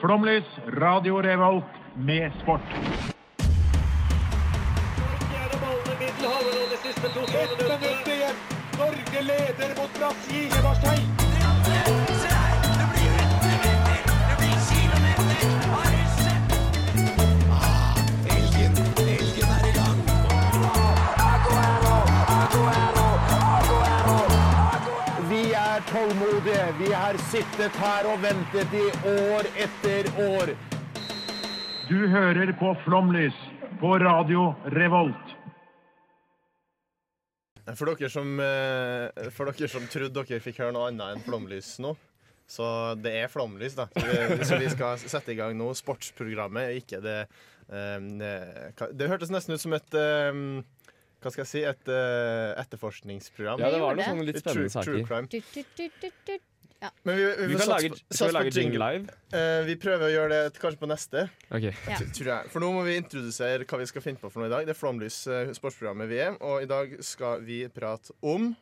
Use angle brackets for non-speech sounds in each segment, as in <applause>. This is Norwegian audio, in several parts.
Flomlys, Radio Revolt med sport. Ett minutt igjen. Norge leder mot Brasil i Marseille. Vi er tålmodige. Vi har sittet her og ventet i år etter år. Du hører på Flomlys på Radio Revolt. For dere som, eh, for dere som trodde dere fikk høre noe annet enn flomlys nå, så det er flomlys, da. Så vi, så vi skal sette i gang nå sportsprogrammet, og ikke det eh, hva- Det hørtes nesten ut som et eh, Hva skal jeg si? Et eh, etterforskningsprogram. Ja, det var noen gjorde sånne litt Litt spennende true, true saker. crime. Du, du, du, du, du. Men vi, vi, Vi kan får sats lage, på- skal sats vi på lage jingle jingle. live? Eh, vi prøver å gjøre det et- kanskje på neste, Ok, Ja. t- tror jeg. For nå må vi introdusere hva vi skal finne på for noe i dag. Det er Flomlys, eh, sportsprogrammet vi er, og i dag skal vi prate om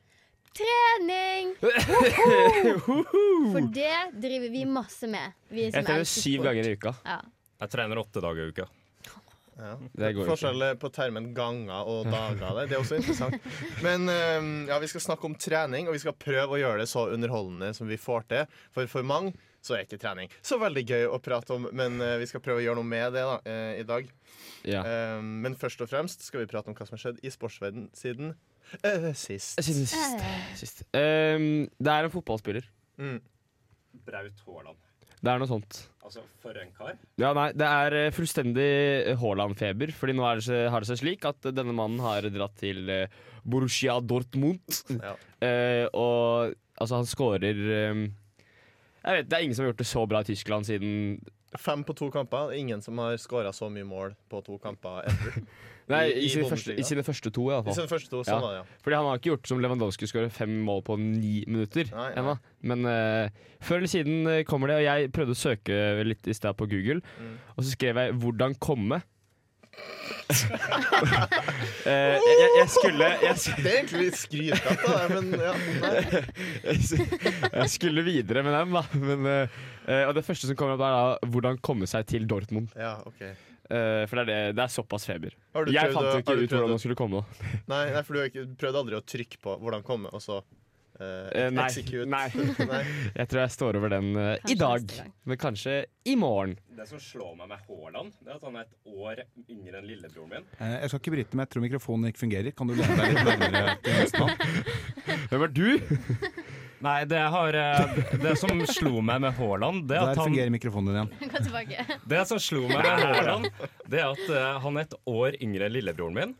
Trening! Woho! For det driver vi masse med. Vi som Jeg trener elsker syv sport. ganger i uka. Ja. <laughs> Jeg trener åtte dager i uka. ja. Det går ikke. Forskjell på termen ganger og dager der. Det er også interessant. Men eh, ja, vi skal snakke om trening, og vi skal prøve å gjøre det så underholdende som vi får til. For for mange så er ikke trening så veldig gøy å prate om, men eh, vi skal prøve å gjøre noe med det da, eh, i dag. Ja. Eh, men først og fremst skal vi prate om hva som har skjedd i sportsverdenen siden eh, sist. Sist, sist, sist. Ehm, det er en fotballspiller. Mm. Braut Haaland. Det er noe sånt. Altså, for en kar. Ja, nei, Det er eh, fullstendig Haaland-feber. Fordi nå er det, seg- har det seg slik at eh, denne mannen har dratt til eh, Borussia Dortmund. Ja. Eh, og altså, han scorer eh, Jeg vet, Det er ingen som har gjort det så bra i Tyskland siden Fem på to kamper. Det er Ingen som har skåra så mye mål på to kamper <laughs> ever. Nei, I- i, i sine, Bundesliga. første, i sine første to, I iallfall. sine første to. Sånn var det, ja. Fordi han har ikke gjort som Lewandowski skårer fem mål på ni minutter Nei, nei. ennå. Men eh, før eller siden eh, kommer det, og jeg prøvde å søke litt i stad på Google, Mm. og så skrev jeg 'hvordan komme'. <laughs> Eh, jeg, jeg, jeg skulle jeg, sk- Det er egentlig litt skrytete, da, men ja. Nei. <laughs> jeg skulle videre med dem, da. Men, eh, eh, og det første som kommer opp, er da 'hvordan komme seg til Dortmund'. ja ok. Eh, for det er, det, det er såpass feber. Har du Jeg prøvd fant å- jo ikke har ut du prøvd å- hvordan man skulle komme. Nei, nei, for du har ikke, prøvde aldri å trykke på hvordan komme, og så eh, Eh, nei, execute. nei. <laughs> Nei. Jeg tror jeg står over den eh, i Kanskje dag, neste gang. men kanskje i morgen. Det som slår meg med Haaland, det er at han er et år yngre enn lillebroren min. Eh, Jeg skal ikke bryte, men jeg tror mikrofonen ikke fungerer. Kan du lene deg litt nærmere <laughs> til neste mann? Hvem er du? Nei, det, eh, som slo meg med Haaland, det Der fungerer mikrofonen din igjen. Gå tilbake. som slo meg med Haaland, det er at eh, han er et år yngre enn lillebroren min.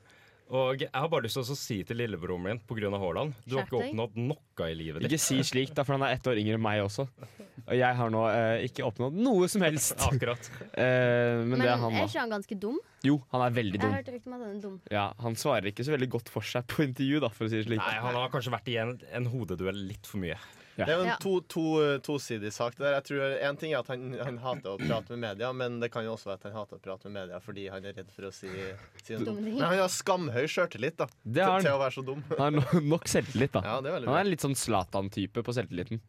Og jeg har bare lyst til å si til lillebroren min pga. Haaland Du har ikke Skjerp deg. oppnådd noe i livet ditt. Ikke si slik, da, for han er ett år yngre enn meg også. Og jeg har nå eh, ikke oppnådd noe som helst. Akkurat. Eh, men, Men det er han, da. ikke han ganske dum? Jo, han er veldig Jeg har dum. hørt rykter om at han er dum. Ja, han svarer ikke så veldig godt for seg på intervju, da, for å si det slik. Nei, han har kanskje vært i en, en hodeduell litt for mye. Det er jo Ja. en to, to, eh, tosidig sak. det der. Jeg tror Én ting er at han, han hater å prate med media, men det kan jo også være at han hater å prate med media fordi han er redd for å si, si noe Dumme dumt. ting. Men han har skamhøy sjøltillit da, Det til, har til han. å være så dum. <laughs> Han har no- nok selvtillit, da. Ja, det er veldig Han bra. er litt sånn Zlatan-type på selvtilliten.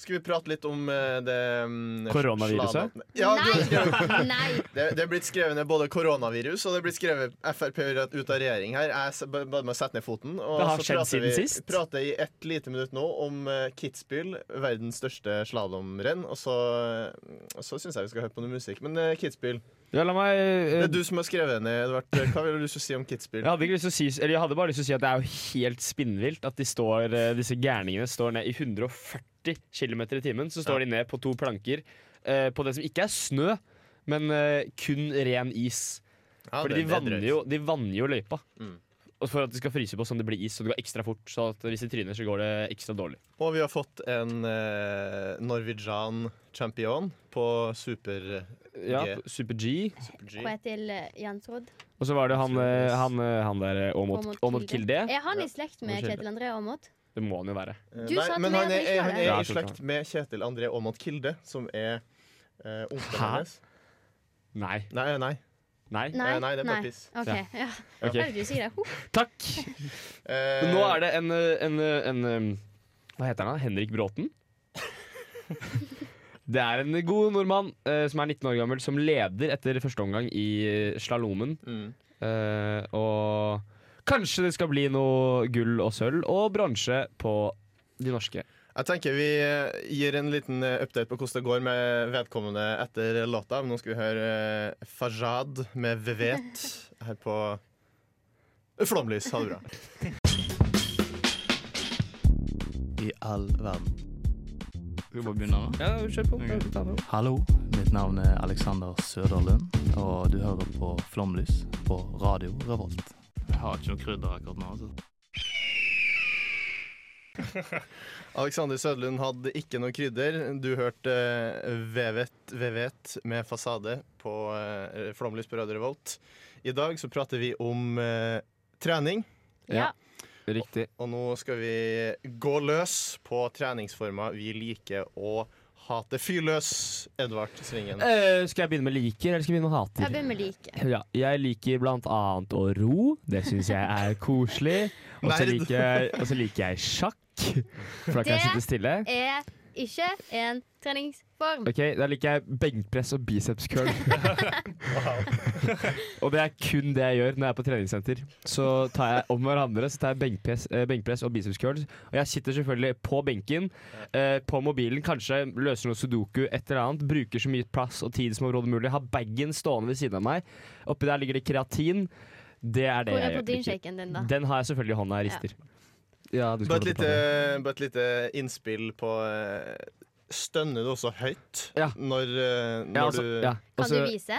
Skal vi prate litt om eh, det mm, Koronaviruset? slaget- Ja, det, er skrevet- Nei! Nei. det, det er blitt skrevet ned både koronavirus og det er blitt skrevet Frp ut av regjering her. Jeg s- ba- bare må sette ned foten. Og Det har så skjedd prater siden vi, sist. prater i ett lite minutt nå om eh, Kitzbühel, verdens største slalåmrenn. Og så, eh, og så syns jeg vi skal høre på noe musikk. Men eh, Kitzbühel, Ja, la meg eh, det er du som har skrevet ned, Edvard. Hva vil du lyst til å si om Kitzbühel? jeg hadde, ikke lyst til å si, eller jeg hadde bare lyst til å si at det er jo helt spinnvilt at de står, eh, disse gærningene står ned i 140 km i timen. Så står de ned på to planker eh, på det som ikke er snø, men eh, kun ren is. Ja, Fordi de det- det er drøyt. vanner, jo, de vanner jo løypa. Mm. Og For at de skal fryse på sånn det blir is, så det går ekstra fort. Så at hvis de tryner, så går det ekstra dårlig. Og vi har fått en eh, norwegian champion på super... eh, Ja, G. Super-G. super-G. Og jeg til eh, Jens Rodd. Og så var det han, eh, han, eh, han der eh, Aamodt Aamodt Aamodt Kilde. Er han i slekt med Unnskyld. Kjetil André Aamodt? Det må han jo være. Eh, Du Nei, sa til men meg han at er, du ikke var han Ja, er i der. jeg tror ikke slekt med Kjetil André Aamodt Kilde, som er eh, onkelen Hæ? hennes. Nei. Nei, eh, nei. Nei. Nei. Eh, nei, det er bare piss. OK. Ja. Ja. Ok. Er du sikker? Ho. Takk! Eh, Men nå er det <laughs> en, eh, en, eh, en eh, Hva heter han da? Henrik Bråten? Det er en god nordmann eh, som er 19 år gammel, som leder etter første omgang i eh, slalåmen. Mm. Eh, og kanskje det skal bli noe gull og sølv og bronse på de norske. Jeg tenker vi eh, gir en liten eh, update på hvordan det går med vedkommende etter låta. Nå skal vi høre eh, Fajad med Vevet her på Flomlys. Ha det bra. I all verden. Skal vi bare begynne nå? Ja, kjør på. Hallo, mitt navn er Alexander Søderlund, og du hører på Flomlys på Radio Revolt. Jeg har ikke noe krydder akkurat nå. altså. Alexander Sødlund hadde ikke noe krydder. Du hørte eh, Vevet, Vevet med fasade på eh, Flomlys på Radio Revolt. I dag så prater vi om eh, trening. Ja. Riktig. Og nå skal vi gå løs på treningsformer vi liker å hate. Fyr løs, Edvard Svingen. Eh, skal jeg begynne med liker, eller skal jeg begynne med hater? Jeg begynner med like. Ja, jeg liker blant annet å ro. Det syns jeg er koselig. Og så Nerd. liker, jeg- og så liker jeg sjakk, for da kan jeg Det- sitte stille. Er ikke en treningsform. Ok, Da liker jeg benkpress og biceps curl. og det er kun det jeg gjør når jeg er på treningssenter. Så tar jeg om hverandre så tar jeg benkpress, eh, benkpress og biceps curl. Og jeg sitter selvfølgelig på benken, eh, på mobilen, kanskje løser noe sudoku, et eller annet. Bruker så mye plass og tid som overhodet mulig. Har bagen stående ved siden av meg. Oppi der ligger det kreatin. Det er det Hvor er jeg gjør. proteinshaken din, da? Den har jeg selvfølgelig i hånda jeg rister. Ja, du skal Bare holde et på lite, eh, bare et lite innspill på eh, Stønner du også høyt Ja. når, eh, når ja, altså, du ja. Kan du Altså- vise?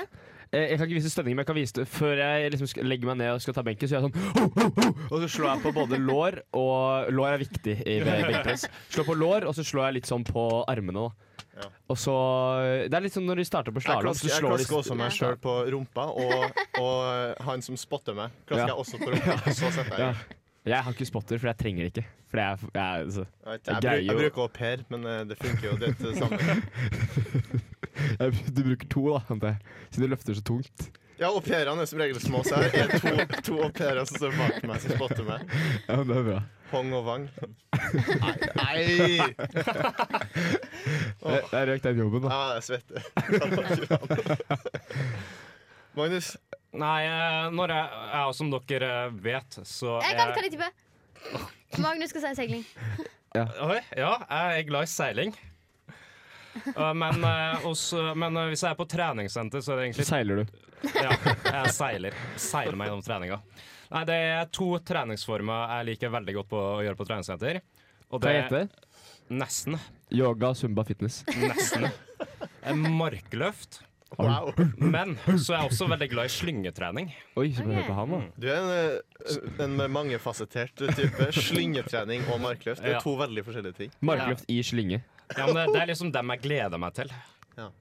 Eh, Jeg kan ikke vise stønning, men jeg kan vise det før jeg liksom skal- legger meg ned og skal ta benken. Så gjør jeg sånn «Ho, ho, ho!» Og så slår jeg på både lår og Lår er viktig i be- benkpress. Slår på lår, og så slår jeg litt sånn på armene. Ja. Da. Og så Det er litt sånn når de starter på Jeg slalåm, så klasker, jeg slår de klasker også meg sjøl på rumpa, og, og han som spotter meg, klasker Ja. jeg også på rumpa. og Så setter Ja. jeg Jeg har ikke spotter, for jeg trenger det ikke. For jeg, er- jeg, er- altså, Jeg, vet ikke, Jeg jeg, greier bruk, jeg jo- bruker au pair, men eh, det funker jo. Det er det samme. jeg, du bruker to, da, antar jeg. Siden du løfter så tungt. Ja, au pairene er som regel små, så her er to, to au pairer som står bak meg, som spotter meg. Ja, men det er bra. Hong og Wang. Nei! nei. Jeg, jeg røk den jobben, da. Ja, jeg svetter. Magnus, Nei, eh, når jeg, jeg og som dere eh, vet, så Jeg kan, kan jeg tippe? Magnus skal si seiling. Oi, ja, jeg er glad i seiling. Eh, men, eh, også, men eh, hvis jeg er på treningssenter, så er det Så egentlig <laughs> seiler du. Ja, jeg seiler. Seiler meg gjennom treninga. Nei, det er to treningsformer jeg liker veldig godt på å gjøre på treningssenter. Og Hva heter det? Nesten. Yoga, zumba, fitness. Nesten. Eh, Markløft. wow. Men så er jeg også veldig glad i slyngetrening. Oi, så får vi høre Ok. på han, da. Du er en, eh, en mangefasettert type. Slyngetrening og markløft. Det Ja. er to veldig forskjellige ting. Markløft i slynge. Ja, men det, det er liksom dem jeg gleder meg til. Ja.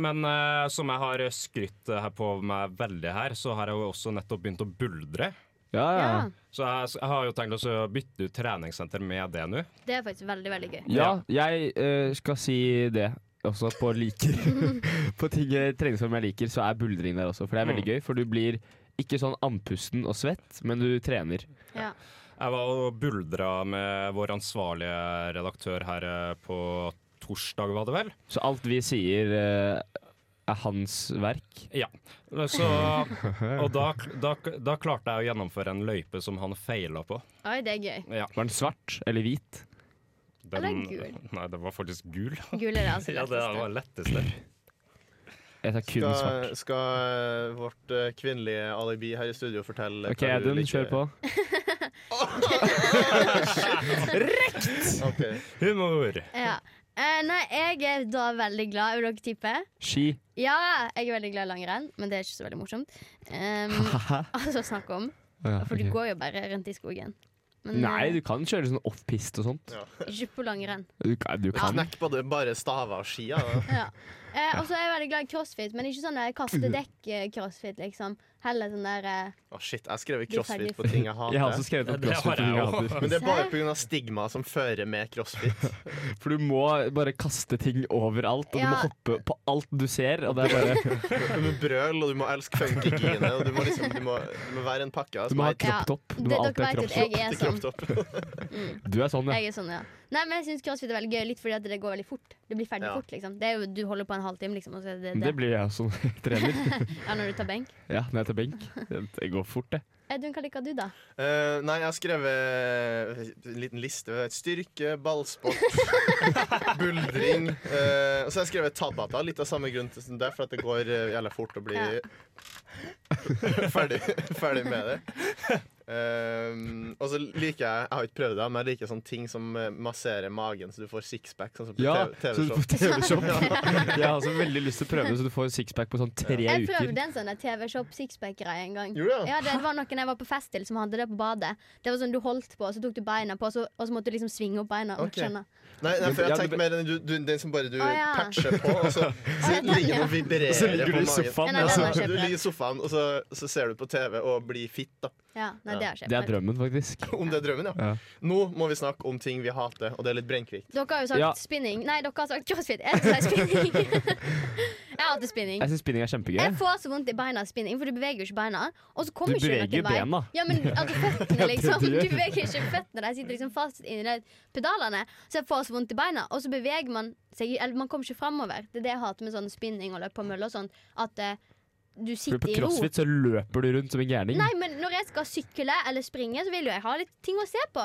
Men eh, som jeg har skrytt eh, her på meg veldig her, så har jeg jo også nettopp begynt å buldre. Ja, ja. ja. Ja. Så jeg, jeg har jo tenkt også å bytte ut treningssenter med det nå. Det er faktisk veldig, veldig gøy. Ja, jeg eh, skal si det også på <laughs> liker. på ting eh, treningsform jeg liker, så er buldring der også. For det er Mm. veldig gøy, for du blir ikke sånn andpusten og svett, men du trener. Ja. Jeg var og buldra med vår ansvarlige redaktør her eh, på torsdag, var det vel? Så alt vi sier eh, er hans verk. <laughs> Så, og da, da, da klarte jeg å gjennomføre en løype som han feila på. Oi, det er gøy. Ja, Var den svart eller hvit? Eller gul. Nei, den var faktisk gul. Gul er det altså <laughs> Ja, det var letteste. letteste. Jeg tar kun svart. Skal, skal eh, vårt eh, kvinnelige alibi her i studio fortelle OK, Audun, kjør på. Ok. Humor! Ja. Eh, nei, jeg er da veldig glad, vil dere tippe? Ski. Ja, jeg er veldig glad i langrenn, men det er ikke så veldig morsomt. <laughs> Um, <laughs> altså, snakk om. Ja, For du ok. går jo bare rundt i skogen. Men Nei, eh, du kan kjøre sånn offpist og sånt. ikke på langrenn. Du kan, du kan. Knekk både bare staver og ski. Ja. da. Ja. Eh, og så er jeg veldig glad i crossfit, men ikke sånn der Mm. kaste dekk-crossfit, liksom. Heller sånn der eh, Å, shit, jeg har skrevet Bli ferdig. crossfit på ting jeg Jeg har også hater. skrevet opp Det har jeg crossfit. fordi jeg også. hater. Men det er bare pga. stigma som fører med crossfit. For du må bare kaste ting overalt, og du må Ja. hoppe på alt du ser. Og det er bare, Du må brøle, og du må elske funkygine, og du må, liksom, du, må, du må være en pakke. du må ha som <laughs> Ja, kropptopp. Du det- må alltid ha dere vet at kropptopp. jeg er heter sånn. kropptopp. Du er sånn, ja. Jeg er sånn, ja. Nei, men jeg syns crossfit er veldig gøy, litt fordi at det går veldig fort. Det blir ferdig Ja. fort, liksom. Det er jo, du holder på en halvtime, liksom, og så er det det. Det blir jeg som <laughs> trener. Ja, når du tar benk. Ja, når jeg tar benk. Det går fort, det. Edvin, hva liker du, da? Eh, nei, jeg har skrevet en liten liste. Styrke, ballsport, <laughs> buldring. eh, og så har jeg skrevet tabata, litt av samme grunn til som det, for at det går eh, jævla fort å bli <laughs> ferdig, ferdig med det. Eh, og så liker jeg Jeg har ikke prøvd det, men jeg liker sånne ting som eh, masserer magen, så du får sixpack. Sånn som på Ja, TV så du TV-show. får <laughs> TV-shop. Jeg har også veldig lyst til å prøve det, så du får sixpack på sånn tre Jeg uker. prøvde en sånn der TV-shop sixpack-greie en gang. Gjorde du det? Ja, det var noen jeg var på fest til som hadde det på badet. Det var sånn Du holdt på, og så tok du beina på, og så, og så måtte du liksom svinge opp beina. om du Ok. skjønner. Nei, nei, for Ja, jeg du- tenker mer den, du, du, den som bare du Å, ja. patcher på, og <laughs> så, så ja, den, ligger den ja. og vibrerer Så ligger du på i magen. sofaen. Nei, nei, og så- nei, nei. Du ligger i sofaen, og så, så ser du på TV og blir fitt, da. Ja, nei, det har skjedd. Det er drømmen, faktisk. Om det er drømmen, ja. Ja. Nå må vi snakke om ting vi hater, og det er litt Breinkvik. Dere har jo sagt Ja. spinning. Nei, dere har sagt <laughs> crossfit. Jeg <laughs> sa spinning. jeg hater spinning. Jeg syns spinning er kjempegøy. Jeg får så vondt i beina av spinning, for du beveger jo ikke beina. Og så kommer Du ikke beveger noen vei. bena. Ja, men altså, <laughs> føttene, det liksom. du Du gjør. beveger ikke føttene. De sitter liksom fast inni de pedalene. Så jeg får så vondt i beina. Og så beveger man seg Eller man kommer ikke framover. Det er det jeg hater med sånn spinning og løp på mølle og sånn. At eh, du For sitter på i ro. crossfit så løper du rundt som en gærning. Nei, men når jeg skal sykle eller springe, så vil jo jeg ha litt ting å se på.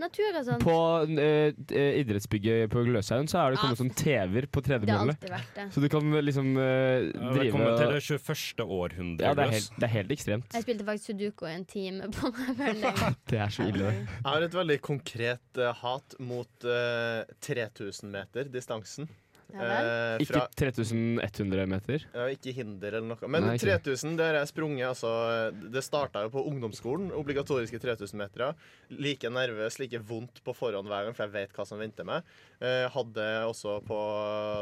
Natur og sånn. På eh, eh, idrettsbygget på Gløshaugen så er det kommet Ja. sånn TV-er på Det har tredemølle. alltid vært det. Så du kan liksom eh, Ja, drive Velkommen til det 21. århundre. Ja, det er, Gus. helt, det er helt ekstremt. Jeg spilte faktisk sudoku i en time på <laughs> mølle. <laughs> Det er så ille. det. Jeg har et veldig konkret eh, hat mot eh, 3000 meter, distansen. Ja vel. Eh, Ikke fra, 3100 meter. ja, ikke hinder eller noe. Men Nei, ikke. 3000, der har jeg sprunget, altså. eh, Det starta jo på ungdomsskolen. Obligatoriske 3000-metere. Like nervøs, like vondt på forhånd hver gang, for jeg vet hva som venter meg. Eh, hadde også på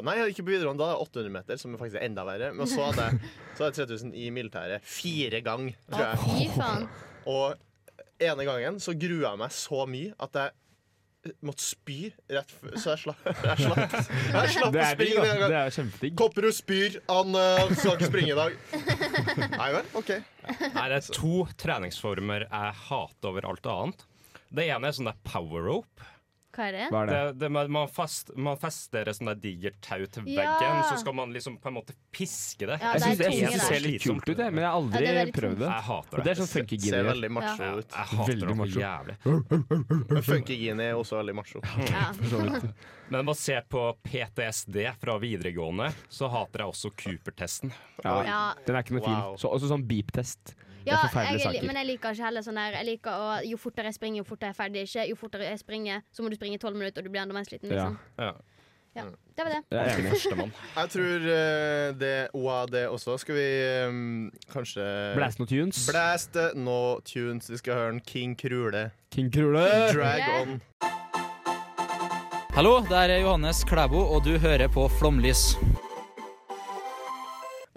Nei, jeg hadde ikke på videregående, da. 800 meter, som faktisk er enda verre. Men så hadde jeg, så hadde jeg 3000 i militæret. Fire gang, tror Å, jeg. fy faen. Og ene gangen så grua jeg meg så mye at jeg måtte spy rett før Så jeg slapp, jeg slapp, jeg slapp Det å er digg, springe den da. gangen. Det er kjempedigg. Kopperud spyr, han eh, skal ikke springe i dag. Nei vel, OK. Nei, det er to treningsformer jeg hater over alt annet. Det ene er sånn der power rope. Hva er det? Hva er Det, det? det, man, man fast, man fester et sånt der digert tau til veggen, Ja. så skal man liksom på en måte piske det. Ja, Jeg det er syns det, jeg tunge synes det der. ser litt kult ut, jeg, men jeg har Ja, aldri det er veldig tungt. prøvd det. Jeg hater Og det det. er sånn funky Ser gini. veldig macho Ja. ut. Jeg hater Veldig det noe macho. jævlig. Funkygini er også veldig macho. Ja. Men basert på PTSD fra videregående, så hater jeg også Cooper-testen. Ja. <laughs> Ja. Den er ikke noe Wow. fin. Så, også sånn beep-test. Det Ja, er forferdelige jeg, saker. men jeg liker ikke heller sånn her. Jeg liker å, Jo fortere jeg springer, jo fortere jeg er ferdig. Ikke? Jo fortere jeg springer, så må du springe i tolv minutter, og du blir enda mer sliten. Liksom. Ja. Ja. Det var det. Jeg er enig. Førstemann. Jeg tror eh, det OAD også. Skal vi eh, kanskje Blast no tunes. Blæste nå tunes. Vi skal høre en King Krule. King Krule. Drag on. Hallo, det er Johannes Klæbo, og du hører på Flomlys.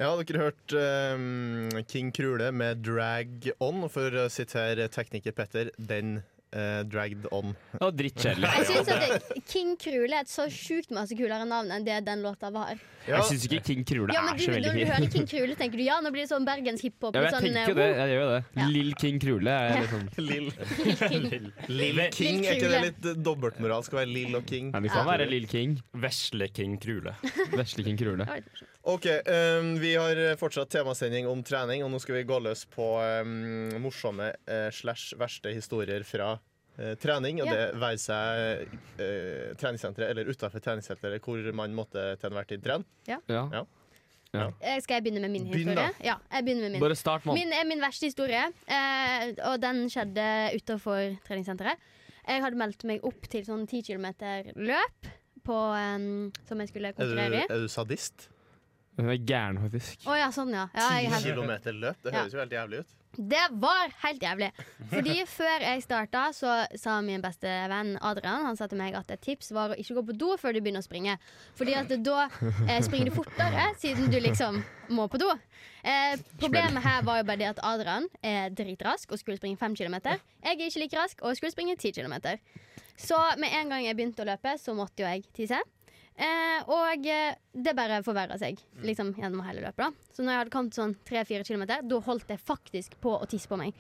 Ja, dere har hørt eh, King Krule med 'Drag On', og for å sitere tekniker Petter, den eh, dragged on. Det var drittkjedelig. Jeg synes at det, King Krule er et så sjukt masse kulere navn enn det den låta var. Ja, Jeg syns ikke King Krule Ja, men er du, så Når du veldig hører King Krule, tenker du ja, nå blir det sånn bergensk hiphop. Ja, men litt jeg sånn, tenker jo det. eh, Jeg gjør jo det. Ja. Lill King Krule er liksom Lill Lille King, er ikke det Krule. litt eh, dobbeltmoral? Skal være Lill og King. Nei, du kan Ja. være Lill King. vesle King Krule. Vesle King Krule. wow. Det var litt morsomt. OK, eh, vi har fortsatt temasending om trening, og nå skal vi gå løs på eh, morsomme eh, slash verste historier fra eh, trening, og Ja. det være seg eh, treningssenteret eller utafor treningssenteret, hvor man måtte til enhver tid trene. Ja. Ja. Eh, Skal jeg begynne med min Begynn, historie? da. Ja, jeg begynner med min. Bare start, mann. Min, eh, min verste historie, eh, og den skjedde utenfor treningssenteret. Jeg hadde meldt meg opp til sånn 10 km løp på, eh, som jeg skulle Er du, konkurrere i. er du sadist? Hun er gæren, faktisk. Å ja, sånn, ja. ja jeg er helt- Kilometer løp, det høres jo helt jævlig ut. Det var helt jævlig. Fordi <laughs> før jeg starta, så sa min beste venn Adrian Han sa til meg at et tips var å ikke gå på do før du begynner å springe. Fordi at da eh, springer du fortere, siden du liksom må på do. Eh, problemet her var jo bare det at Adrian er dritrask og skulle springe 5 km. Jeg er ikke like rask og skulle springe 10 km. Så med en gang jeg begynte å løpe, så måtte jo jeg tisse. Eh, og eh, det bare forverra seg Mm. liksom, gjennom hele løpet. da Så når jeg hadde kommet sånn 3-4 km, da holdt jeg faktisk på å tisse på meg.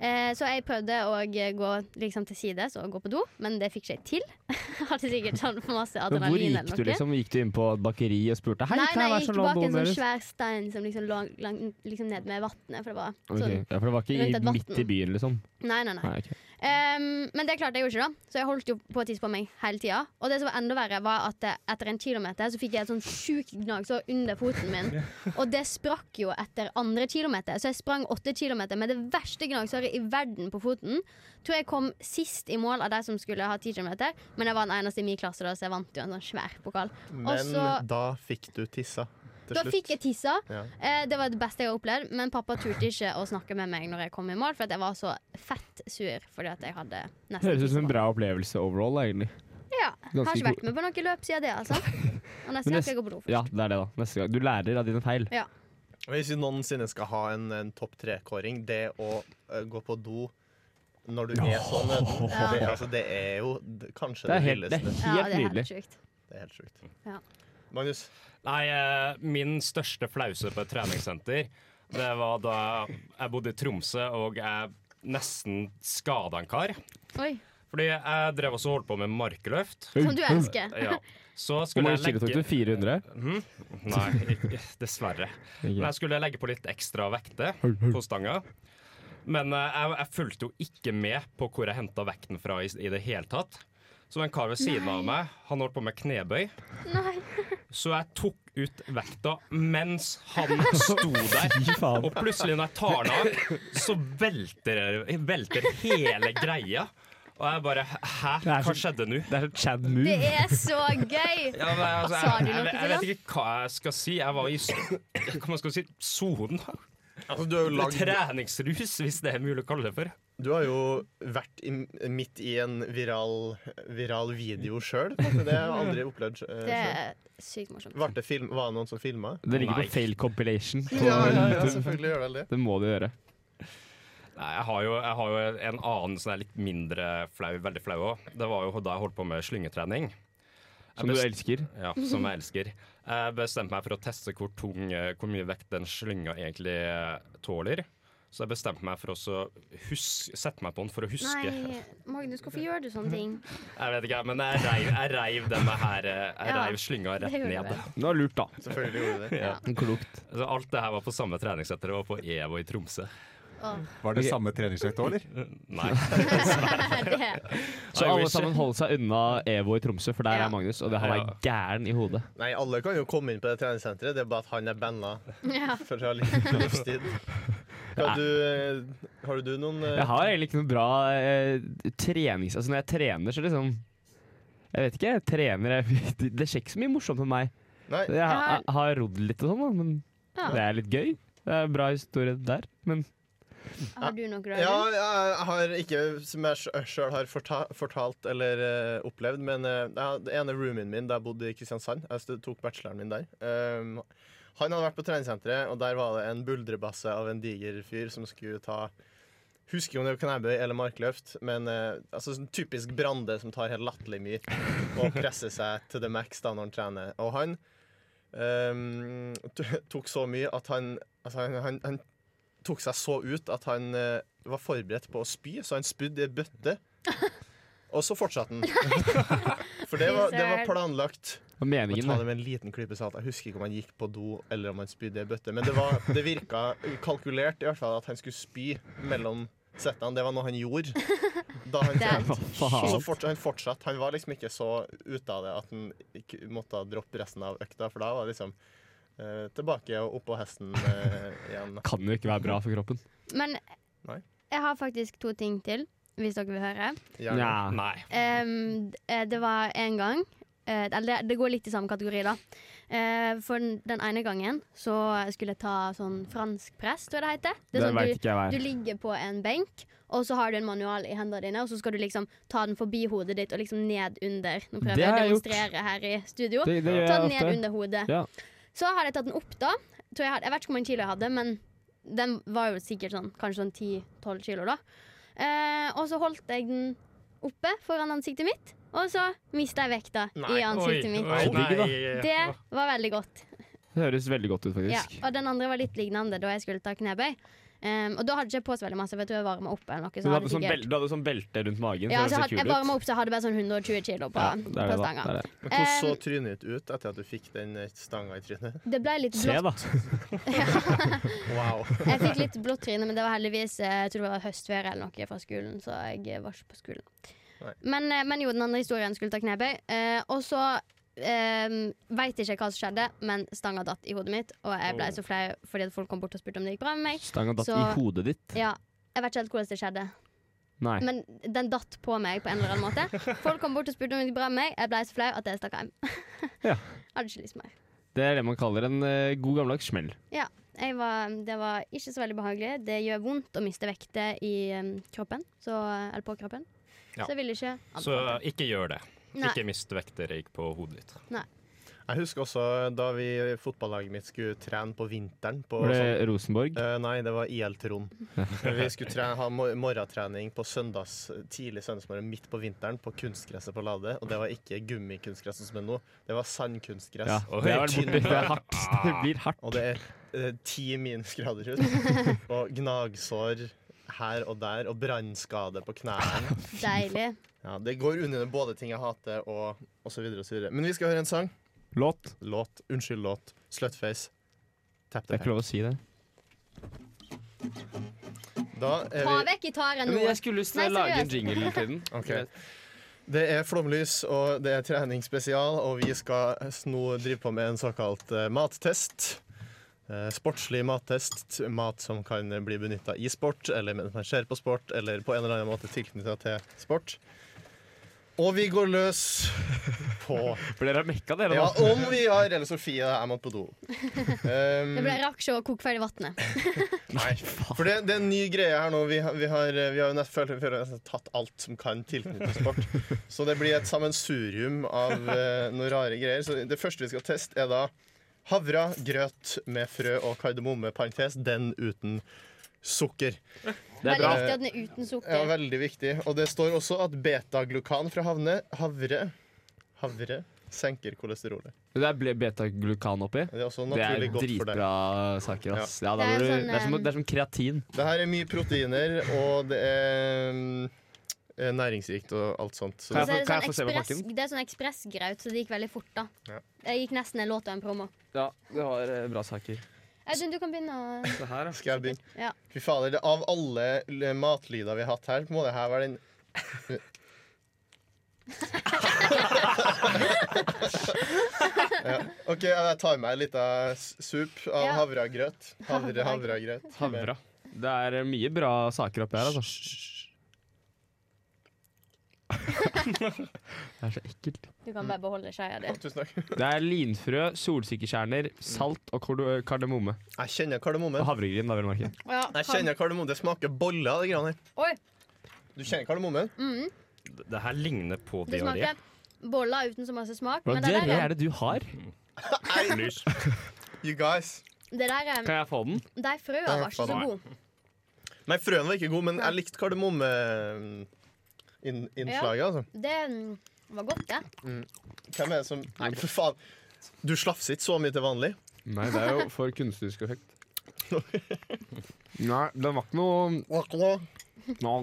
Eh, så jeg prøvde å eh, gå liksom, til sides og gå på do, men det fikk ikke jeg til. <laughs> Jeg hadde sikkert sånn masse Men hvor adrenalin gikk du, eller noe. liksom? Gikk du inn på et bakeri og spurte Hei, Nei, kan jeg nei, jeg være så gikk lån bak en doen sånn deres? svær stein som liksom lå lang, liksom ned med vannet. For det var Ok, sånn. Ja, for det var rundt ikke et i, midt i vatten. byen, liksom? Nei, nei, nei. Nei, ok. Ehm, men det klarte jeg jo ikke, da. Så jeg holdt jo på å tisse på meg hele tida. Og det som var enda verre, var at eh, etter en kilometer så fikk jeg et sånn sjukt gnagsår under foten min. Og det sprakk jo etter andre kilometer, så jeg sprang åtte kilometer med det verste gnagsåret i verden på foten. Tror jeg kom sist i mål av de som skulle ha ti kilometer, men jeg var den eneste i min klasse, da, så jeg vant jo en sånn svær pokal. Og Men så- da fikk du tissa til Da slutt. fikk jeg tissa. Ja. Eh, det var det beste jeg har opplevd, men pappa turte ikke å snakke med meg når jeg kom i mål, for at jeg var så fett sur fordi at jeg hadde nesten Høres ut tisset som en på bra opplevelse overall, egentlig. Ja. Ganske har ikke god- vært med på noe løp siden det, altså. Men Og neste gang nest- skal jeg gå på do. først. Ja, det er det, da. Neste gang. Du lærer av dine feil. Ja. Hvis vi noensinne skal ha en, en topp tre-kåring, det å eh, gå på do når du er så nøden, det, altså, det er jo d- kanskje Det det, er helt, det er villeste. helt Ja, det er nydelig. helt sjukt. Det er helt sjukt. Ja. Magnus, Nei, eh, min største flause på et treningssenter, det var da jeg bodde i Tromsø og jeg nesten skada en kar. Oi. Fordi jeg drev også og holdt på med markløft. Som du elsker. Ja. Så Hvor skulle mange jeg kilo tok du? legge <laughs> 400? Nei, <laughs> ikke, dessverre. Men jeg skulle legge på litt ekstra vekter på stanga. Men eh, jeg, jeg fulgte jo ikke med på hvor jeg henta vekten fra i, i det hele tatt. Så en kar ved siden av meg, han holdt på med knebøy. Nei. Så jeg tok ut vekta mens han <laughs> sto der. Og plutselig når jeg tar den av, så velter, velter hele greia. Og jeg bare Hæ, er hva så- skjedde nå? Det er sånn Chad Det move. er så gøy! Ja, men, altså, Sa jeg, jeg, du noe jeg, til vet ikke hva jeg skal si. Jeg var i s- <clears throat> hva man skal si, sonen. altså, du, har jo lagd, Treningsrus, hvis det er mulig å kalle det for. du har jo vært i, midt i en viral, viral video sjøl. Det har jeg aldri opplevd uh, Det sjøl. er sykt morsomt. Var det, film, var det noen som filma? Det ligger Nei. på fail compilation. på Ja, ja, ja, YouTube. selvfølgelig gjør det vel det. Det må du gjøre. Nei, jeg har jo, jeg har jo en annen som er litt mindre flau, veldig flau òg. Det var jo da jeg holdt på med slyngetrening. Jeg Som du best- elsker. Ja, som jeg elsker. Jeg bestemte meg for å teste hvor tung, eh, hvor mye vekt den slynga egentlig eh, tåler. Så jeg bestemte meg for å så hus- sette meg på den for å huske. Nei, Magnus, hvorfor gjør du sånne ting? Jeg vet ikke, men jeg reiv, jeg reiv denne her eh, Jeg Ja, reiv slynga det rett gjorde du ned. vel. Det var lurt, da. Selvfølgelig gjorde det. Klokt. Så alt det her var på samme treningssenter og på EVO i Tromsø. Var det samme treningsøkt òg, eller? Nei. <laughs> det. Så I alle wish. sammen holder seg unna Evo i Tromsø, for der Ja. er Magnus, og det han er Ja. gæren i hodet. Nei, alle kan jo komme inn på det treningssenteret, det er bare at han er banna Ja. for å ha <laughs> litt livstid. Har du, eh, har du noen eh, Jeg har egentlig ikke noe bra eh, trenings... Altså når jeg trener, så liksom Jeg vet ikke, jeg trener jeg, <laughs> Det skjer ikke så mye morsomt med meg. Nei. Jeg har, jeg har rodd litt og sånn, da, men Ja. det er litt gøy. Det er en bra historie der, men Har du noe, Ja, Ragnar? jeg har ikke som jeg sjøl har forta fortalt eller eh, opplevd, men eh, ja, det ene roomien min da jeg bodde i Kristiansand, jeg stud- tok bacheloren min der um, Han hadde vært på treningssenteret, og der var det en buldrebasse av en diger fyr som skulle ta Husker jo om det var knebøy eller markløft, men eh, altså, sånn typisk Brande som tar helt latterlig mye og presser seg til the max da når han trener. Og han um, t- tok så mye at han, altså, han, han, han tok seg så ut at han eh, var forberedt på å spy, så han spydde i en <laughs> bøtte. Og så fortsatte han. For det var, det var planlagt. hva er Må ta <laughs> meningen? det med en liten klype salt. Jeg husker ikke om han gikk på do eller om han spydde i en bøtte, men det, var, det virka kalkulert i hvert fall at han skulle spy mellom settene. Det var noe han gjorde da han Det er trente. da? Og så Faen. Altså, fortsatte han fortsatt. Han var liksom ikke så ute av det at han ikke måtte droppe resten av økta, for da var det liksom eh, tilbake og oppå hesten eh, igjen. Kan jo ikke være bra for kroppen. Men Nei. jeg har faktisk to ting til, hvis dere vil høre. Gjerne. Nja. Nei. Ehm, d- eh, det var en gang eh, eh, Eller det, det går litt i samme kategori, da. Eh, for den, den ene gangen så skulle jeg ta sånn fransk press, tror jeg det heter. Det er Det sånn vet ikke jeg hva er. du, du ligger på en benk, og så har du en manual i hendene dine, og så skal du liksom ta den forbi hodet ditt og liksom ned under. Nå prøver Det jeg å har jeg gjort. demonstrere her i studio. Det- det gjør ta jeg den ned ofte. under hodet. Ja. Så hadde jeg tatt den opp da. Tror jeg, hadde, jeg vet ikke hvor mange kilo jeg hadde, men den var jo sikkert sånn kanskje sånn 10-12 kilo da. Eh, og så holdt jeg den oppe foran ansiktet mitt, og så mista jeg vekta i ansiktet mitt. Det var veldig godt. Det høres veldig godt ut, Ja, faktisk. og den andre var litt lignende da jeg skulle ta knebøy. Um, og da hadde jeg ikke på så veldig masse, for jeg tror jeg varma opp eller noe. Så Du hadde hadde, sånn sikkert- belte, du hadde sånn belte rundt magen. ja, så det så hadde, ser jeg kul ut. varma opp, så jeg hadde bare sånn 120 kilo på, Ja, det er det på da, stanga. det er Det, det. Men Hvordan så trynet ditt ut etter at du fikk den eh, stanga i trynet? ble litt Se, blått. da. <laughs> <laughs> Wow. Jeg fikk litt blått tryne, men det var heldigvis eh, jeg tror det var høstferie eller noe fra skolen. Så jeg eh, var ikke på skolen. Nei. Men, eh, men jo, den andre historien skulle ta knebøy. Eh, og så eh, veit jeg ikke hva som skjedde, men stanga datt i hodet mitt. Og jeg ble så flau fordi at folk kom bort og spurte om det gikk bra med meg. Stanga datt i Så- hodet ditt. Ja, jeg vet ikke helt hvordan det skjedde. Nei. Men den datt på meg på en eller annen måte. Folk kom bort og spurte om det gikk bra med meg. Jeg ble så flau at jeg stakk hjem. Ja. <laughs> Hadde ikke lyst mer. Det er det man kaller en eh, god gammeldags smell. Ja, jeg var, det var ikke så veldig behagelig. Det gjør vondt å miste vekte i um, kroppen, så, eller på kroppen. Ja. Så jeg ville ikke Så anbefale det. ikke gjør det. Nei. Ikke mist vekterøyk på hodet ditt. Jeg husker også da vi fotballaget mitt skulle trene på vinteren. På, Var det sånn- Rosenborg? Eh, nei, det var IL Trond. vi skulle trene, ha mor- morgentrening på søndags, tidlig søndagsmorgen midt på vinteren på kunstgresset på Lade. Og det var ikke gummikunstgress som er nå, det var sandkunstgress. Ja, det er vel borti. Det er hardt. Det blir hardt. Og det er eh, ti minusgrader ute. Og gnagsår her og der, og brannskade på knærne. Deilig. Ja, det går under både ting jeg hater, og osv. videre Men vi skal høre en sang. Låt. Låt. Unnskyld, låt. Slutface. Tap Det the er ikke lov å si det. Da er Ta vi vekk gitaren nå. skulle Nei, lage en seriøst. jingle til den. <laughs> Ok. Det er flomlys, og det er treningsspesial, og vi skal nå drive på med en såkalt eh, mattest. Eh, sportslig mattest. Mat som kan bli benytta i sport, eller mens man ser på sport, eller på en eller annen måte tilknytta til sport. Og vi går løs <laughs> på For dere har mekka, dere Ja, nå. om vi har Eller Sofie, jeg måtte på do. <laughs> Um, Det ble rakk å koke ferdig vannet. Nei, for det, det er en ny greie her nå. Vi har, vi har, vi har jo nett, føler, føler jeg nesten tatt alt som kan tilknyttes sport. Så det blir et sammensurium av eh, noen rare greier. Så det første vi skal teste, er da havra, grøt med frø og kardemomme, parentes, den uten sukker. Det er Veldig bra. viktig at den er uten Ja, sukker. veldig viktig. Og det står også at betaglukan fra havne, havre, havre senker kolesterolet. Det er ble- betaglukan oppi. Det er også Det er naturlig godt for deg. dritbra saker, ass. Ja, da Det er må du, sånn, det, er som, eh, det er som kreatin. Det her er mye proteiner, og det er mm, er næringsrikt og alt sånt. Så Og Kan så er jeg det få- kan jeg sånn få se på ekspress- pakken? det er sånn ekspressgraut, så det gikk veldig fort, da. Ja. Det gikk nesten en låt og en promo. Ja, det har eh, bra saker. Audun, du kan begynne å Det her, ass. skal jeg begynne. Ja. Fy fader, det, av alle l- matlyder vi har hatt her, må det her være den ja. OK, jeg tar med en liten s- sup av Ja. havregrøt. Havre, havregrøt. Havra. Det er eh, mye bra saker oppi her, altså. <laughs> det er så ekkelt. Du kan bare beholde skeia di. Ja, Tusen takk. Det er linfrø, solsikkekjerner, salt og kord- kardemomme. Jeg kjenner kardemomme. Og havregryn, da, vil jeg merke. Ja, Jeg kjenner kardemomme. Det smaker boller av de greiene her. Oi, Du kjenner kardemommen? D- Det her ligner på det diaré. smaker boller uten så masse smak. Hva Men det diaré der er, er det du har? Lys. <laughs> You guys. det der er Kan jeg få den? De frøa var ikke så gode. Nei, frøen var ikke god, men jeg likte kardemommeinnslaget. Altså. Det mm, var godt, det. Hvem er det som Nei, for faen. Du slafser ikke så mye til vanlig. Nei, det er jo for kunstnerisk effekt. Nei, den var ikke noe Ja,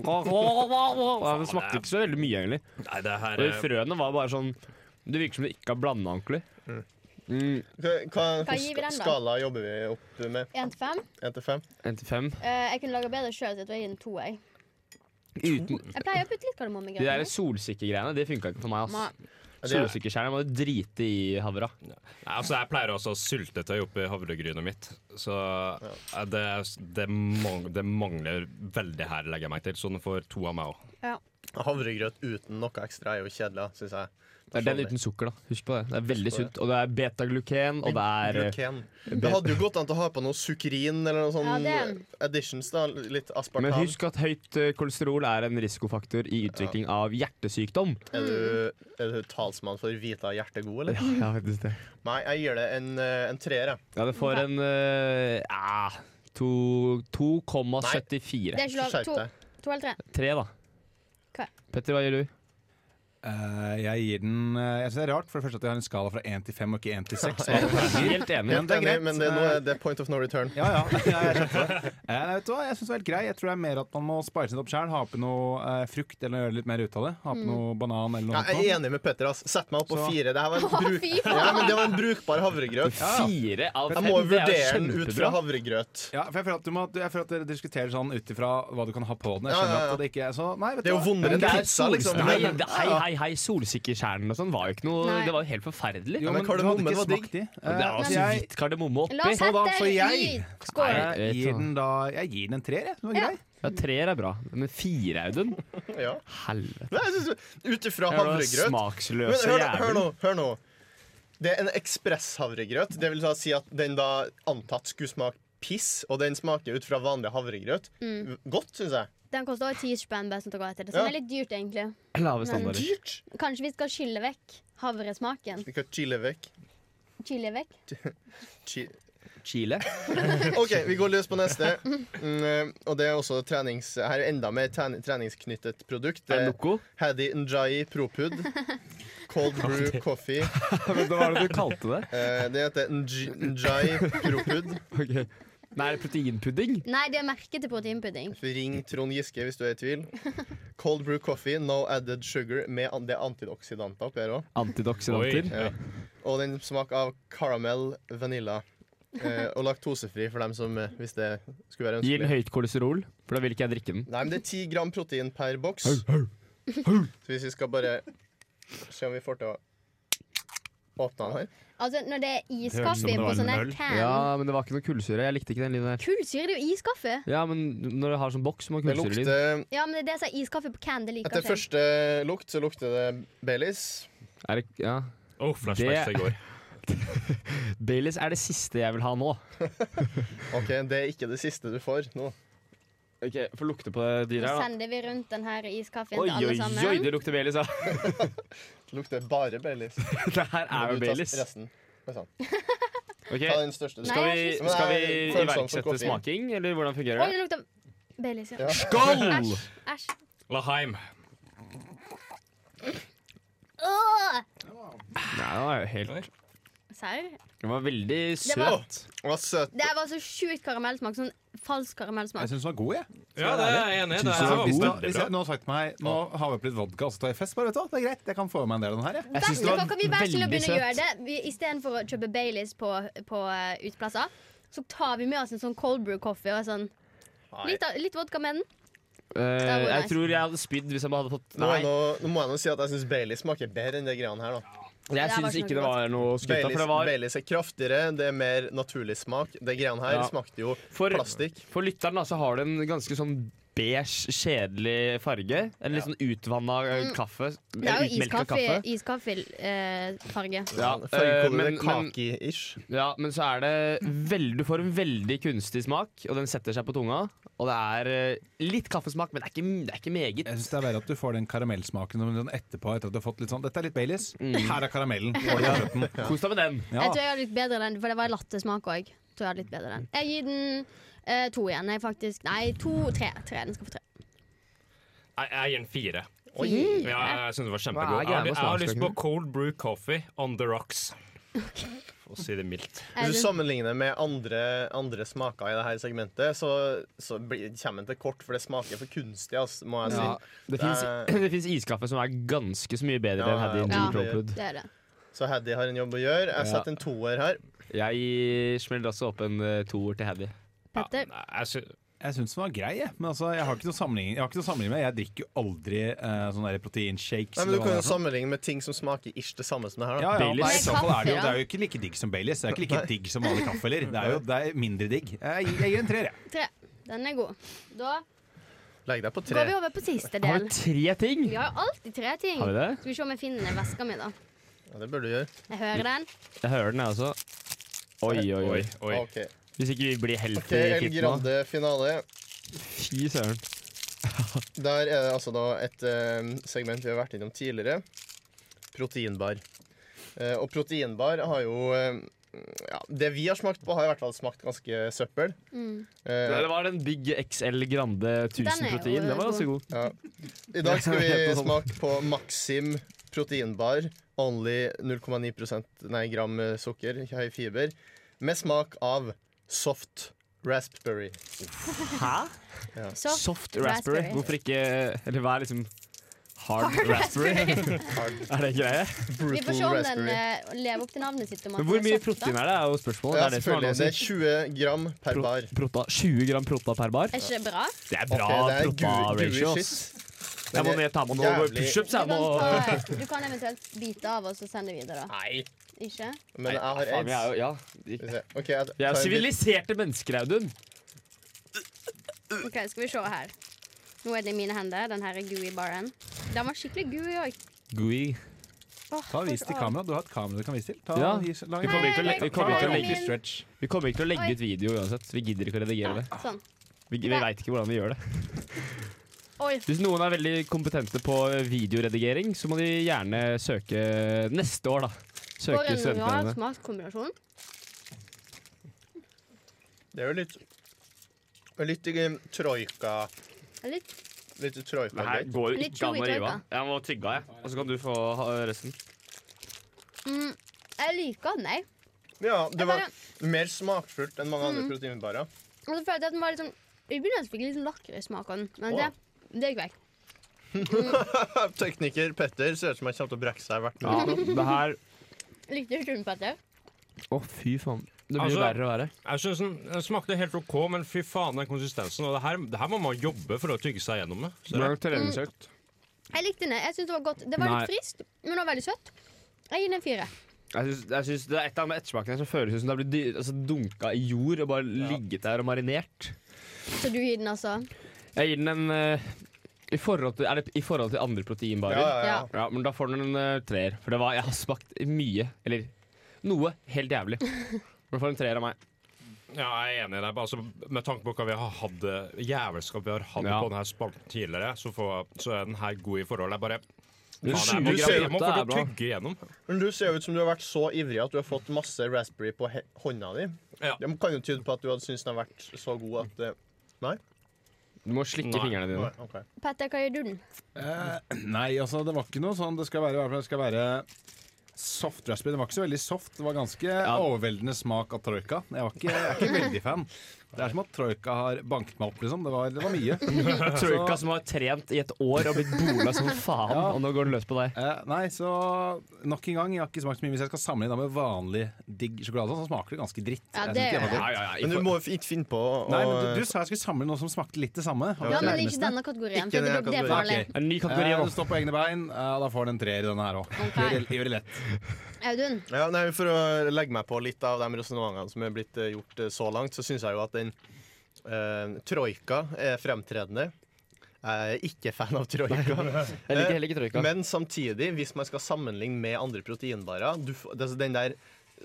Den smakte ikke så veldig mye, egentlig. Nei, det her Og eh, frøene var bare sånn Det virker som det ikke har blanda ordentlig. Mm, Hva, hva, Hva gir vi den, da? hvilken skala jobber vi opp med? Én til fem. 1 til 5? En til fem. Eh, jeg kunne laga bedre sjøl, så jeg tror jeg gir den to. Jeg, Uten jeg pleier å putte litt kardemomme i de der grøten. solsikkegreiene. Det funka ikke for meg, Nei. ass. Solsikkeskjærene må du drite i havra. Nei, altså Jeg pleier også å ha syltetøy oppi havregrynet mitt. Så eh, det, det, mang, det mangler veldig her, legger jeg meg til. Så den får to av meg òg. Havregrøt uten noe ekstra er jo kjedelig, syns jeg. Det er den uten sukker, da. Husk på det. Det er veldig sunt. Og det er betagluken, og det er eh, Gluken. Det hadde jo gått an til å ha på noe sukrin eller noe sånn Ja, det- additions. da Litt aspartam. Men husk at høyt eh, kolesterol er en risikofaktor i utvikling av hjertesykdom. er, du, er du talsmann for Vita Hjertegod, eller? Ja, faktisk det. Nei, jeg gir det en, eh, en treer, jeg. Ja, det får en eh, ah, to- 2,74. Det er ikke lov. Skjerp To, deg. to eller tre. Tre, da. Hva? Petter, hva gjør du? Eh, jeg gir den eh, Jeg synes det er rart, for det første at jeg har en skala fra 1 til 5 og ikke 1 til <laughs> 6. Helt enig. Ja, men det er Enig, greit. Men det, nå er det point of no return. Ja, ja, ja, jeg skjønte det. Eh, nei, vet du hva, jeg synes det var helt grei. Jeg tror det er mer at man må spise det opp selv Ha på noe eh, frukt eller gjøre litt mer ut av det. Ha på noe banan eller noe Ja, jeg er sånt. enig med Petter. ass Sett meg opp på Så- fire. Det her <laughs> var en, bruk... fy faen. ja, men det var en brukbar havregrøt. Fire av Jeg fem. det er må jo vurdere den ut fra kjempebra. havregrøt. Ja, for jeg føler, at du må, jeg føler at dere diskuterer sånn ut ifra hva du kan ha på den. Jeg Ja, skjønner ja, ja. at det ikke er så Nei, vet Det er jo du hva. Men vondere enn det er pizza, liksom. solsikker- Men, Nei, det- hei, hei, hei, solsikkekjernen og sånn var jo ikke noe Nei. Det var jo helt forferdelig. Jo, men men du hadde kardemommen ikke var digg. smakt de. Og det Eh, var så så jeg, vidt kardemomme oppi. La oss Så da sette får jeg- i skål. Nei. jeg Vet du gir hva. den da Jeg gir den en treer, jeg. Den var Ja. grei. Ja, treer er bra, men firer, Audun? ja. Helvete. Nei, jeg synes- Ut ifra Er du havregrøt Men Smaksløse hør, nå- hør nå, jævel. hør nå. Det er en ekspresshavregrøt. Det vil da si at den da antatt skulle smake piss, og den smaker ut fra vanlig havregrøt. Godt, syns jeg. Den koster over ti spenn. sånn best å gå etter det. Så Ja. den er litt dyrt, egentlig. Lave standarder. Dyrt. Kanskje vi skal skylle vekk havresmaken. Vi kan chille vekk. Chile vekk. Chi- Chile. OK, vi går løs på neste. Mm, og det er også trenings... Her er enda mer tren- treningsknyttet produkt. Eh, Det Er det er noe? Haddy Njai Propud. Cold brew coffee. Hva var det du kalte <laughs> det? Eh, det heter Nj- Njai Propud. Ok. Nei, proteinpudding? Nei, det er merket til proteinpudding. Ring Trond Giske hvis du er i tvil. Cold brew coffee, no added sugar, med an det er antioksidanter oppi her òg. Antidoksidanter? Ja. Og den smaker av caramel, vanilla eh, og laktosefri for dem som eh, Hvis det skulle være Gir den ønskelig. høyt kolesterol? For da vil ikke jeg drikke den. Nei, men det er 10 gram protein per boks. Så hvis vi skal bare se om vi får til å åpne den her Altså, når det er Høres ut som iskaffe det på var sånn en her øl. can Ja, men det var ikke noe kullsyre. Jeg likte ikke den lyden der. Kullsyre, det er jo iskaffe! Ja, men når du har sånn boks, må ha Det kullsyrelyd. lukter Ja, men det er det som er iskaffe på can. Det liker Etter jeg. første lukt så lukter det Baileys. Er det, ja. Oh, flashbacks Det- til i går. Baileys er det siste jeg vil ha nå. OK, det er ikke det siste du får nå. Ok, Få lukte på det Så dyret her, da. sender vi rundt den her iskaffen Oi, til alle oi, oi, sammen. det lukter Baileys, ja. <laughs> Det lukter bare Baileys. Det her er jo Du tar Baileys. resten. Oi, sann. Ok, Ta den største. Skal Nei, vi, jeg synes- skal vi Nei, følsom for iverksette koffein. smaking, eller hvordan fungerer Oi, det? det lukter Baileys, ja. Ja. Skål! Æsj. Æsj. Laheim. Åh! Nei, den var jo Oi. helt Serr? Den var veldig Det var- søt. Å, søt. Det her var så sjukt karamellsmak. Sånn falsk Jeg karamellsmak. syns den var god, jeg. Ja, det er jeg enig i. Det Så her var hvis, da, veldig hvis jeg, bra. nå har sagt meg Nå har vi opp litt vodka, og så tar jeg fest. Bare, vet du, hva, det er greit, jeg kan få i meg en del av den her. Jeg. Jeg Vet synes du det hva, var kan vi være til å veldig begynne å gjøre søt. det? Vi- Istedenfor å kjøpe Baileys på, på eh, uteplasser, så tar vi med oss en sånn cold brew coffee og sånn. Litt, av- litt vodka med den. Eh, var jeg nice. tror jeg hadde spydd hvis jeg bare hadde fått Nå, er Nei, nå, nå må jeg nå si at jeg syns Baileys smaker bedre enn det greiene her. da jeg var syns ikke ikke noe det var noe skryt av. For Baileys, det var Baileys er kraftigere, det er mer naturlig smak. Det greiene her Ja. smakte jo For- plastikk. For lytteren da, så har det en ganske sånn beige, kjedelig farge. En litt sånn utvanna eh, kaffe. Mm. Det er jo utmelka iskaffe- iskaffefarge. Ja, eh, Fargekodet men, er men, kaki-ish. ja, men så er det veld, Du får en veldig kunstig smak, og den setter seg på tunga. Og det er eh, litt kaffesmak, men det er ikke, det er ikke meget. Jeg syns det er verre at du får den karamellsmaken som den etterpå. Etter at du har fått litt sånn, Dette er litt Baileys. Her er karamellen. Får den på slutten. Kos deg med den. Jeg Ja. tror jeg hadde litt bedre den, for det var lattesmak òg. Jeg hadde litt bedre den. Jeg gir den eh, to igjen. Jeg faktisk, nei, to, tre. tre. Den skal få tre. Jeg, jeg gir den fire. Oi. Ja, jeg syns den var Hva kjempegod. er Jeg har, greia med jeg har lyst på smaksløkene? cold brew coffee on the rocks. For å si det mildt. <laughs> Jeg Hvis du syns- sammenligner med andre, andre smaker i dette segmentet, så, så blir, kommer den til kort, for det smaker for kunstig, altså, må jeg si. Ja, det fins- <clears throat> det fins iskaffe som er ganske så mye bedre Ja, enn Haddy ja, New ja. Dropwood. Det er det. Så Haddy har en jobb å gjøre. Jeg Ja. setter en toer her. Jeg smeller også opp en eh, toer til Haddy. Petter? Ja, jeg sy Jeg syns den var grei, jeg. Men altså, jeg har ikke noe sammenligning Jeg har ikke noe sammenligning med Jeg drikker jo aldri eh, sånne der proteinshakes. Nei, men du eller hva kan jo det sånn- er for noe. sammenligne med ting som smaker ish det samme som det her. Da. ja, ja. Baileys. Nei, i så fall er det, jo, Kaffe, det ja. er jo ikke like digg som Baileys. Det er ikke like digg som vanlig kaffe heller. Det er jo det er mindre digg. Jeg, gir- jeg gir en treer, jeg. Tre. Den er god. Da Legg deg på tre. Går vi over på siste Har del? vi tre ting? Vi har jo alltid tre ting. Har vi det? Skal vi se om jeg finner veska mi, da. Ja, det burde du gjøre. Jeg hører den. Jeg hører den, jeg også. Oi, oi, oi. Ok, Hvis ikke vi blir helt Ok, i El kitten nå. Grande finale. Fy søren. Der er det altså da et eh, segment vi har vært innom tidligere. Proteinbar. Eh, og proteinbar har jo eh, ja, Det vi har smakt på, har i hvert fall smakt ganske søppel. Mm. Eh, Det var den Big XL Grande 1000 Den er jo protein. Den var god. ganske god. Ja. I dag skal Det vi er sånn. smake på Maxim proteinbar. Only 0,9 prosent- nei, gram eh, sukker, ikke høy fiber. Med smak av soft raspberry. Hæ? Soft, Soft raspberry. Hvorfor ikke Eller hva er liksom hard, Hard raspberry? Hard <laughs> er det greie? Vi får brutal se om den raspberry. eh, lever opp til navnet sitt. om at Men hvor den er mye soft, da. protein er det, er jo spørsmålet. Ja, det er det som er selvfølgelig. Det er låsen. 20 gram per bar. Prota, 20 gram prota per bar. Er ikke det bra? Det er bra Ok, det er gu- gooey prota-ratio. shit. Jeg må Men det ned ta med er noe jævlig- pushups. Du jeg kan, må- ta, du kan eventuelt bite av og så sende videre. da. Nei, Ikke? men jeg har Faen, vi er jo aids. ja. Skal vi se. Ok, Vi jeg er tar jo en bit. siviliserte mennesker, Audun. Ok, Skal vi se her. Nå er det i mine hender. Den her er gooey baren. Den var skikkelig gooey òg. Gooey. Ta og Vis til kamera. Du har et kamera du kan vise til. Ta, Ja. vis- lag- Vi kommer ikke til å legge- vi kommer ikke til å legge- stretch. Vi kommer ikke til å legge Oi. ut video uansett. Vi gidder ikke å redigere det. Sånn. Vi, vi veit ikke hvordan vi gjør det. Oi. Hvis noen er veldig kompetente på videoredigering, så må de gjerne søke neste år, da. For Søke en rar <laughs> studentene. smakskombinasjon. Det er jo litt Litt i troika Litt, Litt i troika Her går jo Litt ikke an å chewy rive av. tørka. Jeg må tygge av, jeg. Og så kan du få ha- resten. mm, jeg liker den, jeg. Ja, det Jeg var bare- mer smakfullt enn mange andre Mm. proteinbarer. Og så følte jeg at den var litt sånn I begynnelsen fikk jeg litt sånn lakrissmak av den, men det, det gikk vekk. Tekniker Petter ser ut som han kommer til å brekke seg hvert Ja, minutt. det her Likte du den, Petter? Å, fy faen. Det blir Altså- jo verre og verre. Jeg synes den, den smakte helt OK, men fy faen, den konsistensen. Og det her, det her må man jobbe for å tygge seg gjennom det. Så det- treningsøkt. Jeg likte den. jeg. Jeg synes Det var godt Det var Nei. litt friskt, men det var veldig søtt. Jeg gir den en fire. Jeg syns, jeg syns det er et eller annet med ettersmaken her som føles ut som det har blitt dy- altså, dunka i jord og bare ligget der og marinert. Så du gir den altså? Jeg gir den en eh, i, forhold til, Er det i forhold til andre proteinbarer? Ja, ja, ja. Ja. Ja, men da får den en eh, treer. For det var, jeg har smakt mye, eller noe, helt <laughs> jævlig. Du får en treer av meg. Ja, jeg er enig i det. Altså, med tanke på hva vi har hatt eh, jævelskap vi har hatt Ja. på denne spalten tidligere, så, får, så er den her god i forhold. Jeg bare Men Faen, jeg 20 må- gram jeg må dette få er til å bra. tygge igjennom. Men du ser ut som du har vært så ivrig at du har fått masse raspberry på he hånda di. Ja. Det kan jo tyde på at du hadde syntes den har vært så god at det Du må slikke Nei. fingrene dine. Ok. Petter, hva gir du den? Eh, nei, altså, det var ikke noe sånn Det skal være, i hvert fall, det skal være soft raspberry. Den var ikke så veldig soft. Det var ganske overveldende smak av troika. Jeg, var ikke, jeg er ikke veldig fan. Det er som at troika har banket meg opp, liksom. Det var, det var mye. Troika som har trent i et år og blitt bola som faen, Ja. og nå går den løs på deg. Eh, nei, så nok en gang, jeg har ikke smakt så mye. Hvis jeg skal sammenligne da med vanlig digg sjokolade, så smaker det ganske dritt. Ja, Jeg synes det ikke gjør var det. godt. ja, Men du må jo ikke finne på å Nei, men du, du sa jeg skulle samle noe som smakte litt det samme. og Ja, det er men ikke nærmeste. denne kategorien. Ikke For det denne blir farlig. kategorien. En ny kategori Eh, nå. du står på egne bein, eh, da får den en treer, denne her òg. Ok. Gjør det lett. Audun, Ja, nei, For å legge meg på litt av de resonnementene som er blitt eh, gjort eh, så langt, så syns jeg jo at den eh, troika er fremtredende. Jeg er ikke fan av troika. Jeg liker heller ikke troika. <laughs> Men samtidig, hvis man skal sammenligne med andre proteinbarer du, f- altså Den der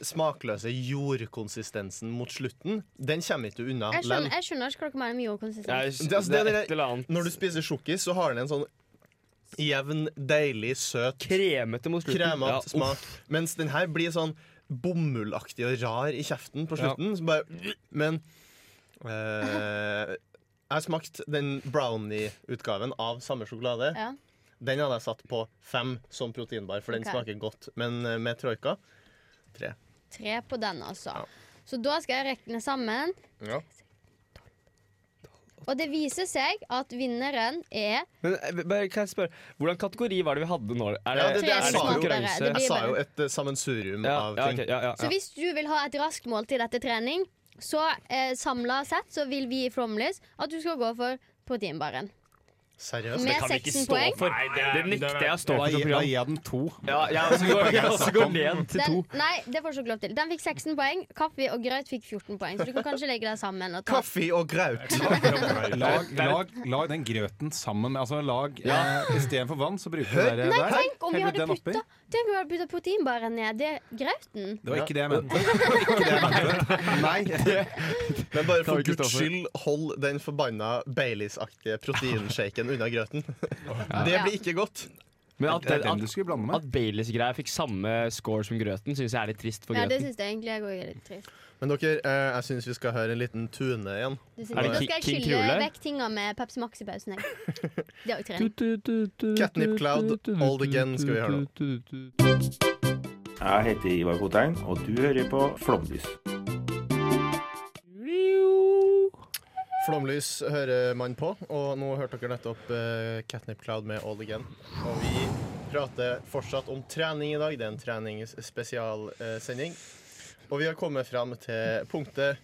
smakløse jordkonsistensen mot slutten, den kommer ikke du unna. jeg Len. skjønner, jeg skjønner ikke hva dere mener med jordkonsistens. Jeg, Det er altså det er det- et eller annet Når du spiser sjokkis, så har den en sånn jevn, deilig, søt, kremete mot slutten. Ja, kremete uff. smak. Mens den her blir sånn bomullaktig og rar i kjeften på Ja. slutten. Så bare, men eh, Jeg har smakt den brownie-utgaven av samme sjokolade. Ja. Den hadde jeg satt på fem som proteinbar, for den Ok. smaker godt. Men eh, med troika Tre på den, altså. Ja. Så da skal jeg regne sammen. Ja. Og det viser seg at vinneren er Men, eh, bare kan jeg spørre, hvordan kategori var det vi hadde nå? Er Ja, det- det tre er det smakere. konkurranse? Det Jeg blir sa jo bare. et eh, sammensurium Ja, av ja, ting. ok, ja, ja, Så ja. hvis du vil ha et raskt måltid etter trening, så eh, samla sett så vil vi i Flåmlys at du skal gå for proteinbaren. Seriøst? Med 16 poeng. Nei, det, Det nekter jeg å stå Da for som gir da program. gir jeg den to. Ja, jeg også går, jeg også går ned til Den, to. nei, det får du ikke lov til. Den fikk 16 poeng. Kaffe og grøt fikk 14 poeng. Så du kan kanskje legge deg sammen. Og ta. Kaffe og graut. Lag, lag, lag den grøten sammen med Altså lag eh, Istedenfor vann, så bruker du det Nei, der. tenk om vi Heller hadde den oppi. putta Tenk om vi hadde putta proteinbaren nedi grauten. Det var ikke det jeg mente. Nei, Men bare vi for ikke stå guds for. skyld, hold den forbanna Baileys-aktige proteinshaken unna grøten. Det blir ikke godt. Men at, det er den at, du skulle blande med. at Baileys-greia fikk samme score som grøten, syns jeg er litt trist for Ja, det grøten. syns jeg egentlig jeg òg er litt trist. Men dere, eh, jeg syns vi skal høre en liten tune igjen. Du syns- Er det Da Ki- skal jeg King skylle Krule? vekk tinga med Pepsi Max i pausen, jeg. Det er jo <laughs> trening. Catnip Cloud, Old Again skal vi høre nå. Jeg heter Ivar Kotein, og du hører på Flomlys. Flomlys hører man på, og nå hørte dere nettopp eh, Catnip Cloud med All Again. Og vi prater fortsatt om trening i dag. Det er en treningsspesialsending. og vi har kommet fram til punktet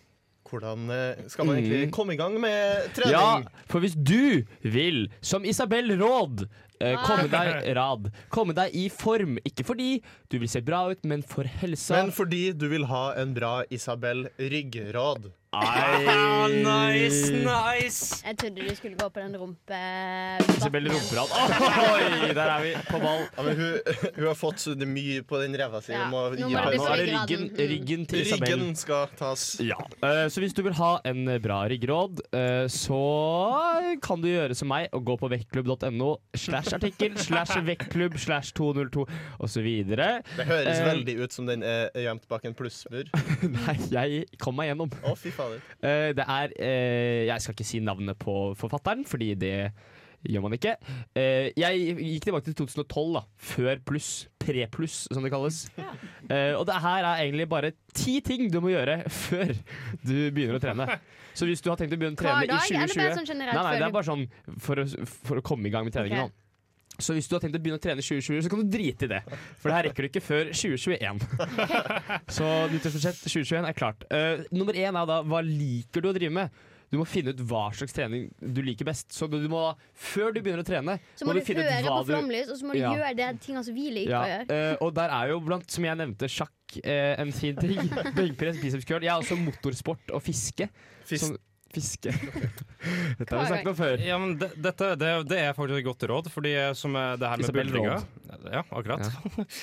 hvordan eh, skal man egentlig komme i gang med Mm. Ja, trening? for hvis du vil, som Isabel Råd, eh, komme <laughs> deg rad, komme deg i form, ikke fordi du vil se bra ut, men for helsa Men fordi du vil ha en bra Isabel Ryggrad. Nice, nice! Jeg trodde du skulle gå på den rumpe... Isabel Rumperad. Oi, der er vi på ball. Ja, men hun, <laughs> hun har fått så mye på den ræva si. Ja, Hun må nå gi må henne det Nå noe. er det ryggen, ryggraden. ryggen til Isabel. Ryggen skal tas. Ja, eh, Så hvis du vil ha en bra ryggråd, eh, så kan du gjøre som meg og gå på vektklubb.no slash artikkel slash vektklubb slash 202 osv. Det høres Eh, veldig ut som den er gjemt bak en plussmur. Å, Nei, jeg kom meg gjennom. fy fader. Eh, Det er eh, Jeg skal ikke si navnet på forfatteren, fordi det gjør man ikke. Eh, Jeg gikk tilbake til 2012, da. Før pluss. Pre-pluss, som det kalles. Eh, Og det her er egentlig bare ti ting du må gjøre før du begynner å trene. Så hvis du har tenkt å begynne å Hver trene dag, i eller 2020 bare sånn generelt? Nei, nei, det før du- er bare sånn for å, for å komme i gang med treningen. Ok. nå. Så hvis du har tenkt å begynne å trene i 2020, så kan du drite i det. For det her rekker du ikke før 2021. <laughs> så nyttårsbudsjett 2021 er klart. Eh, nummer én er da hva liker du å drive med? Du må finne ut hva slags trening du liker best. Så du må da, før du begynner å trene, Så må du finne høre ut på hva du flomlys, og så må du Ja. gjøre de tinga som vi liker å ja, gjøre. eh, og der er jo blant, som jeg nevnte, sjakk eh, en fin ting. Benkpress, biceps curl. Jeg har også motorsport og fiske. Fis- Som- Fiske. Dette har vi snakket om før. Ja, men det, dette, det, det er faktisk et godt råd, fordi som er det her med Isabel buldringa Ja, akkurat. <laughs>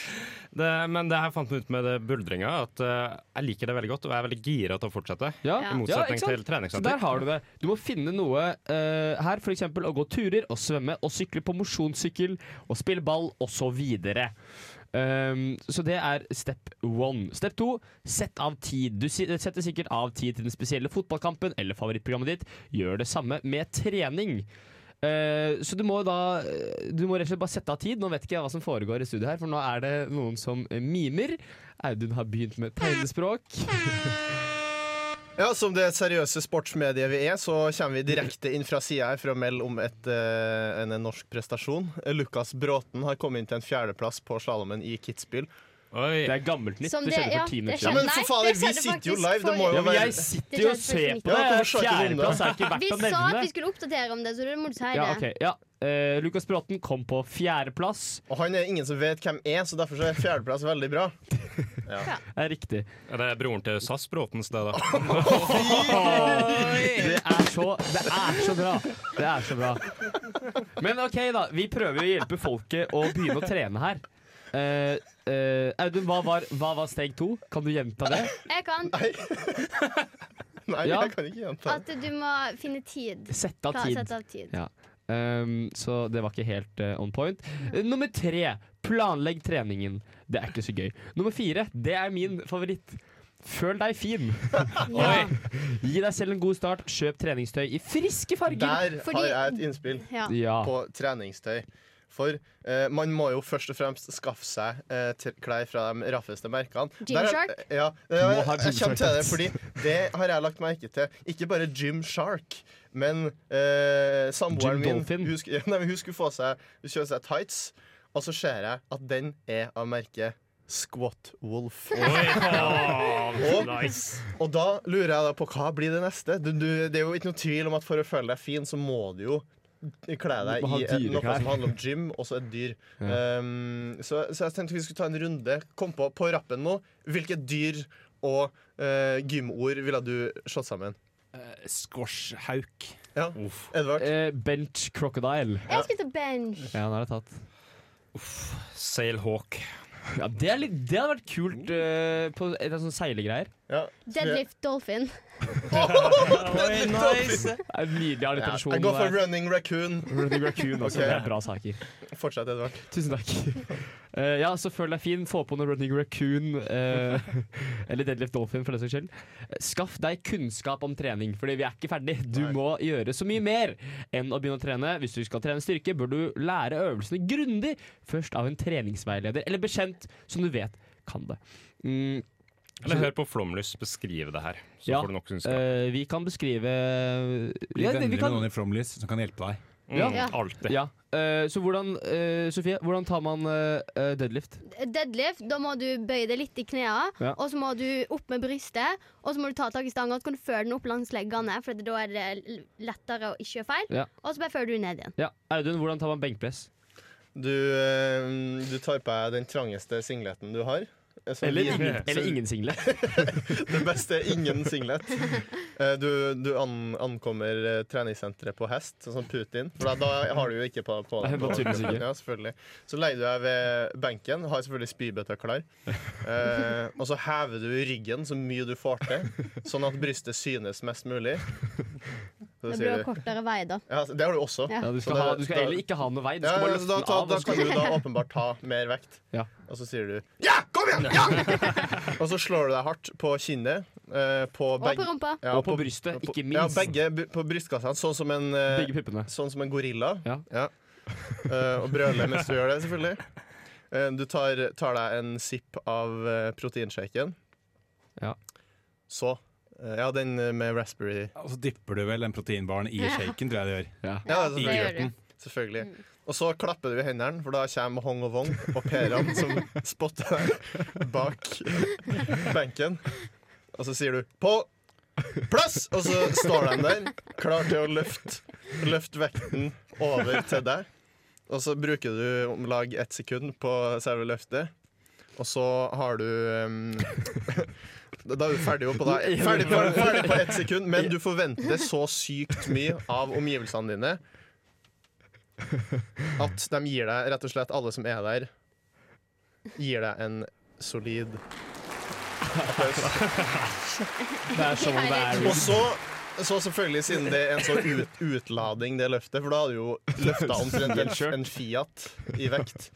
det, men det her fant vi ut med det buldringa, at eh, jeg liker det veldig godt, og jeg er veldig gira til å fortsette. Ja. I motsetning ikke sant? til Så der treningssenter. har du det. Du må finne noe eh, her, f.eks. å gå turer og svømme og sykle på mosjonssykkel og spille ball osv. Um, så det er step one. Step to sett av tid. Du si- setter sikkert av tid til den spesielle fotballkampen eller favorittprogrammet ditt. Gjør det samme med trening. Eh, så du må da eh, Du må rett og slett bare sette av tid. Nå vet ikke jeg hva som foregår i studio her, for nå er det noen som eh, mimer. Audun har begynt med tegnespråk. Ja, Som det seriøse sportsmediet vi er, så kommer vi direkte inn fra sida her for å melde om et, eh, en, en norsk prestasjon. Lukas Bråten har kommet inn til en fjerdeplass på slalåmen i Kitzbühel. Oi. Det er gammelt nytt. Som Det det- skjedde ja, for ti det minutter siden. Ja, skjedde. men Nei, for fader, det vi skjedde sitter jo faktisk live! Det må jo forrige- Ja, men være jeg sitter jo og ser på Ja, det. hvorfor snakker vi om det? Fjerdeplass er ikke Vi verdt å sa at vi nevne. skulle oppdatere om det, så du må du si Ja, det. ok, ja. Eh, Lukas Bråten kom på fjerdeplass. Og han er ingen som vet hvem er, så derfor så er fjerdeplass veldig bra. Det er riktig. Er det broren til SAS Bråtens, det, da? <laughs> Det er så, det er så bra. Det er så bra. Men OK, da. Vi prøver å hjelpe folket å begynne å trene her. Eh, eh, Audun, hva var, hva var steg to? Kan du gjenta det? Jeg <laughs> kan Nei, Ja. jeg kan ikke gjenta det. at du må finne tid. Sette av Ta, tid. sette av tid. Ja. Ehm, så det var ikke helt eh, on point. Eh, Nummer tre planlegg treningen. Det er ikke så gøy. Nummer fire det er min favoritt. Føl deg fin. Ja. Gi deg selv en god start. Kjøp treningstøy i friske farger. Der Fordi- har jeg et innspill. Ja. Ja. på treningstøy. For eh, man må jo først og fremst skaffe seg eh, t- klær fra de raffeste merkene. Gymshark? Der er- Ja, ja, må ha jeg kommer til det, Gymshark. fordi det har jeg lagt merke til. Ikke bare Jim Shark, men eh, samboeren Jim min Dolphin? hun, sk- <laughs> ja, nei, men hun skulle få seg, hun kjøpe seg tights, og så ser jeg at den er av merket Squat <laughs> Wolf. Og, og da lurer jeg da på hva blir det neste? Du, du, det er jo ikke noe tvil om at for å føle deg fin, så må du jo kle deg Du må ha i et, noe dyreklær. som handler om gym, og så et dyr. Ja. Um, så, så jeg tenkte vi skulle ta en runde. Kom på på rappen nå. Hvilke dyr og eh, gymord ville du slått sammen? Squashhauk. Ja. Edvard? Eh, bench crocodile. Jeg skulle til bench. Ja, den er det tatt. Sailhawk. Ja, det, er litt, det hadde vært kult eh, på et av sånne seilegreier. Deadlift dolphin. Oi, nice! Det er Nydelig Ja, alliterasjon. jeg går for der. running raccoon. Running Raccoon også. <laughs> Ok. Det er bra saker. Fortsett, Edvard. Tusen takk. Eh, ja, så føl deg fin. Få på noe Running Raccoon. eh, eller Deadlift Dolphin, for den saks skyld. Skaff deg kunnskap om trening, Fordi vi er ikke ferdig. Du må gjøre så mye mer enn å begynne å trene. Hvis du skal trene styrke, bør du lære øvelsene grundig, først av en treningsveileder eller bekjent som du vet kan det. Mm, Eller hør på Flomlys beskrive det her. Så ja, får du nok kunnskap. eh, vi kan beskrive Bli Ja, venner vi med kan- noen i Flomlys som kan hjelpe deg. Mm, Ja. Alltid. Ja. Eh, så hvordan, eh, Sofie, hvordan tar man eh, eh, deadlift? Deadlift, da må du bøye deg litt i knærne, Ja. og så må du opp med brystet, og så må du ta tak i stanga, og så kan du føre den opp langs leggene, for da er det l- lettere å ikke gjøre feil, Ja. og så bare fører du ned igjen. Ja. Audun, hvordan tar man benkpress? Du, eh, du tar på deg den trangeste singleten du har. Eh, så Eller vi- ingen, så- eller ingen single. <laughs> Det beste er ingen singlet. Eh, Du, du an, ankommer eh, treningssenteret på hest, sånn som Putin. For da, da har du jo ikke på, på Nei, naturligvis ikke. <laughs> Ja, selvfølgelig. Så leier du deg ved benken, har selvfølgelig spybøtta klar. Eh, og så hever du ryggen så mye du får til, sånn at brystet synes mest mulig. Så Det sier blir du- jo kortere vei da. ja, det har du også. Ja. Ja, Du Så skal, da- ha, du skal da- egentlig ikke ha noe vei. Du ja, skal bare ja, så løfte da, den ta, av. da og så kan skal du da åpenbart ta mer vekt. Ja. Og så sier du 'ja, kom igjen!' <laughs> Ja! og så slår du deg hardt på kinnet. eh, på Og begge, på rumpa. ja, Og på brystet, ikke Ja, minst. begge bu- på brystkassene, sånn som en, eh, Begge puppene. <laughs> sånn som en gorilla. Ja. Eh, og brøler mens du gjør det, selvfølgelig. Eh, du tar, tar deg en sipp av uh, proteinshaken. Ja. Så eh, Ja, den eh, med raspberry. Og så dipper du vel den proteinbaren i shaken, tror jeg det gjør. Ja, det I er sånn- gjør grøten. Selvfølgelig. Og så klapper du i hendene, for da kommer Hong og Wong og Peran som spotter deg bak benken. Og så sier du 'på plass', og så står de der, klar til å løfte løft vekten over til deg. Og så bruker du om lag ett sekund på selve løftet, og så har du em, <laughs> da er du ferdig på deg. Ferdig på, ferdig på ett sekund, men du forventer så sykt mye av omgivelsene dine at de gir deg, rett og slett alle som er der, gir deg en solid applaus. Det er sånn det er. <laughs> Og så, så selvfølgelig, siden det er en sånn ut, utlading, det løftet, for da har du jo løfta omtrent en, en Fiat i vekt,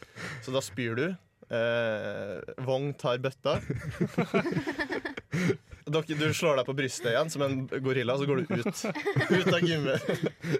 så da spyr du. Eh, Vong tar bøtta. Dere, du slår deg på brystet igjen som en gorilla, så går du ut. Ut av gymmet.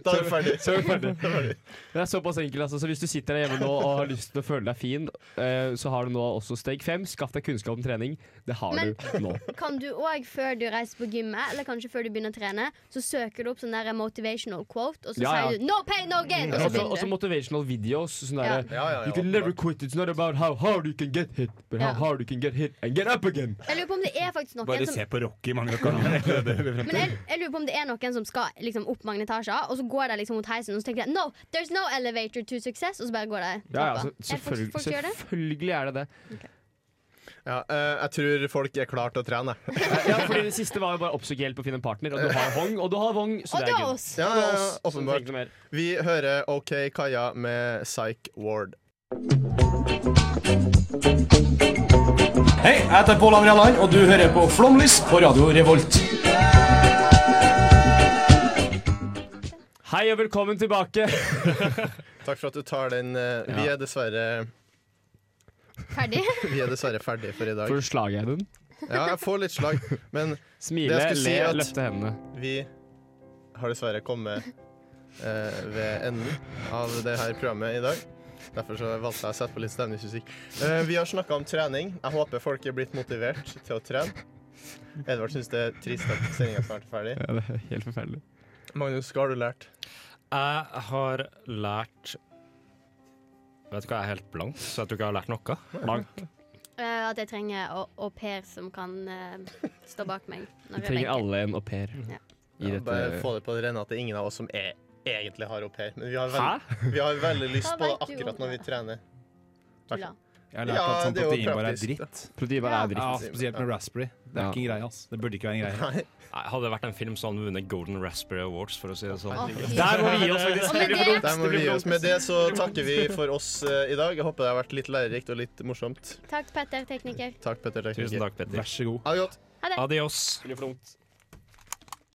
Da er du ferdig. Så er vi ferdig. Da er du ferdig. Det er såpass enkelt. Altså. Så hvis du sitter der hjemme nå og har lyst til å føle deg fin, eh, så har du nå også steg fem. Skaff deg kunnskap om trening. Det har Men- du nå. Kan du òg, før du reiser på gymmet, eller kanskje før du begynner å trene, så søker du opp sånn der motivational quote, og så Ja, Mm. ja. sier du 'no pain, no gain', og så Også, også begynner du. motivational videos. Sånn derre Ja, ja, ja, You can never quit. It's not about how hard you can get hit, but how Ja. hard you can get hit and get up again. Jeg lurer på om det er faktisk noen Bare som se på Rocky mange ganger. Men jeg, jeg lurer på om det er noen som skal liksom, opp mange etasjer, og så går de liksom mot heisen, og så tenker de No, there's no elevator to success, og så bare går de Ja, ja, trappa. så, Er folk, selvfølgelig, folk gjør det? selvfølgelig er det det. Ja, eh, jeg tror folk er klare til å trene. jeg. Ja, fordi Det siste var jo bare å oppsøke hjelp og finne en partner. Og du har Hong, og du har Wong. Så Og det da er good. oss! Ja, ja, ja, Så du trenger åpenbart. ikke noe mer. Vi hører OK Kaja med Psych Ward. Hei, jeg heter Pål André Land, og du hører på Flomlys på Radio Revolt. Hei og velkommen tilbake. Takk for at du tar den. eh, Vi er dessverre, Ferdig. <laughs> vi er dessverre ferdige for i dag. Får du slag i den? Ja, jeg får litt slag, men Smile, Det jeg le, skulle si at- løfte hendene. vi har dessverre kommet eh, ved enden av det her programmet i dag. Derfor så valgte jeg å sette på litt stemningsmusikk. Eh, vi har snakka om trening. Jeg håper folk er blitt motivert til å trene. Edvard syns det er trist at sendinga snart er ferdig. Ja, det er helt forferdelig. Magnus, hva har du lært? Jeg har lært Vet du hva, jeg er helt blank, så jeg tror ikke jeg har lært noe. Blank. Eh, at jeg trenger au au pair som kan eh, stå bak meg. Vi Når jeg trenger benker. alle en au pair. Ja. I Ja, dette bare få det på det rene at det er ingen av oss som er egentlig har au pair, men vi har, veld, vi har veldig lyst Hva på det vet du om akkurat når vi trener. Tulla. <laughs> Jeg har lært Ja, at sånn det er jo proteinbar er praktisk, da. dritt. Proteinbar er dritt. Ja, spesielt med raspberry. Det er Ja. ikke en greie, altså. ass. Det burde ikke være en <laughs> greie. Nei, Hadde det vært en film, så hadde han vunnet Golden Raspberry Awards, for å si det sånn. Å, fy. Der må vi gi oss, faktisk. Og med det- Der må vi gi oss. Med det så takker vi for oss eh, i dag. Jeg håper det har vært litt lærerikt og litt morsomt. Takk, Petter, tekniker. Takk, Petter. Tusen takk, Petter. Vær så god. Ha det godt. Ha det. Adios. Blir for dumt.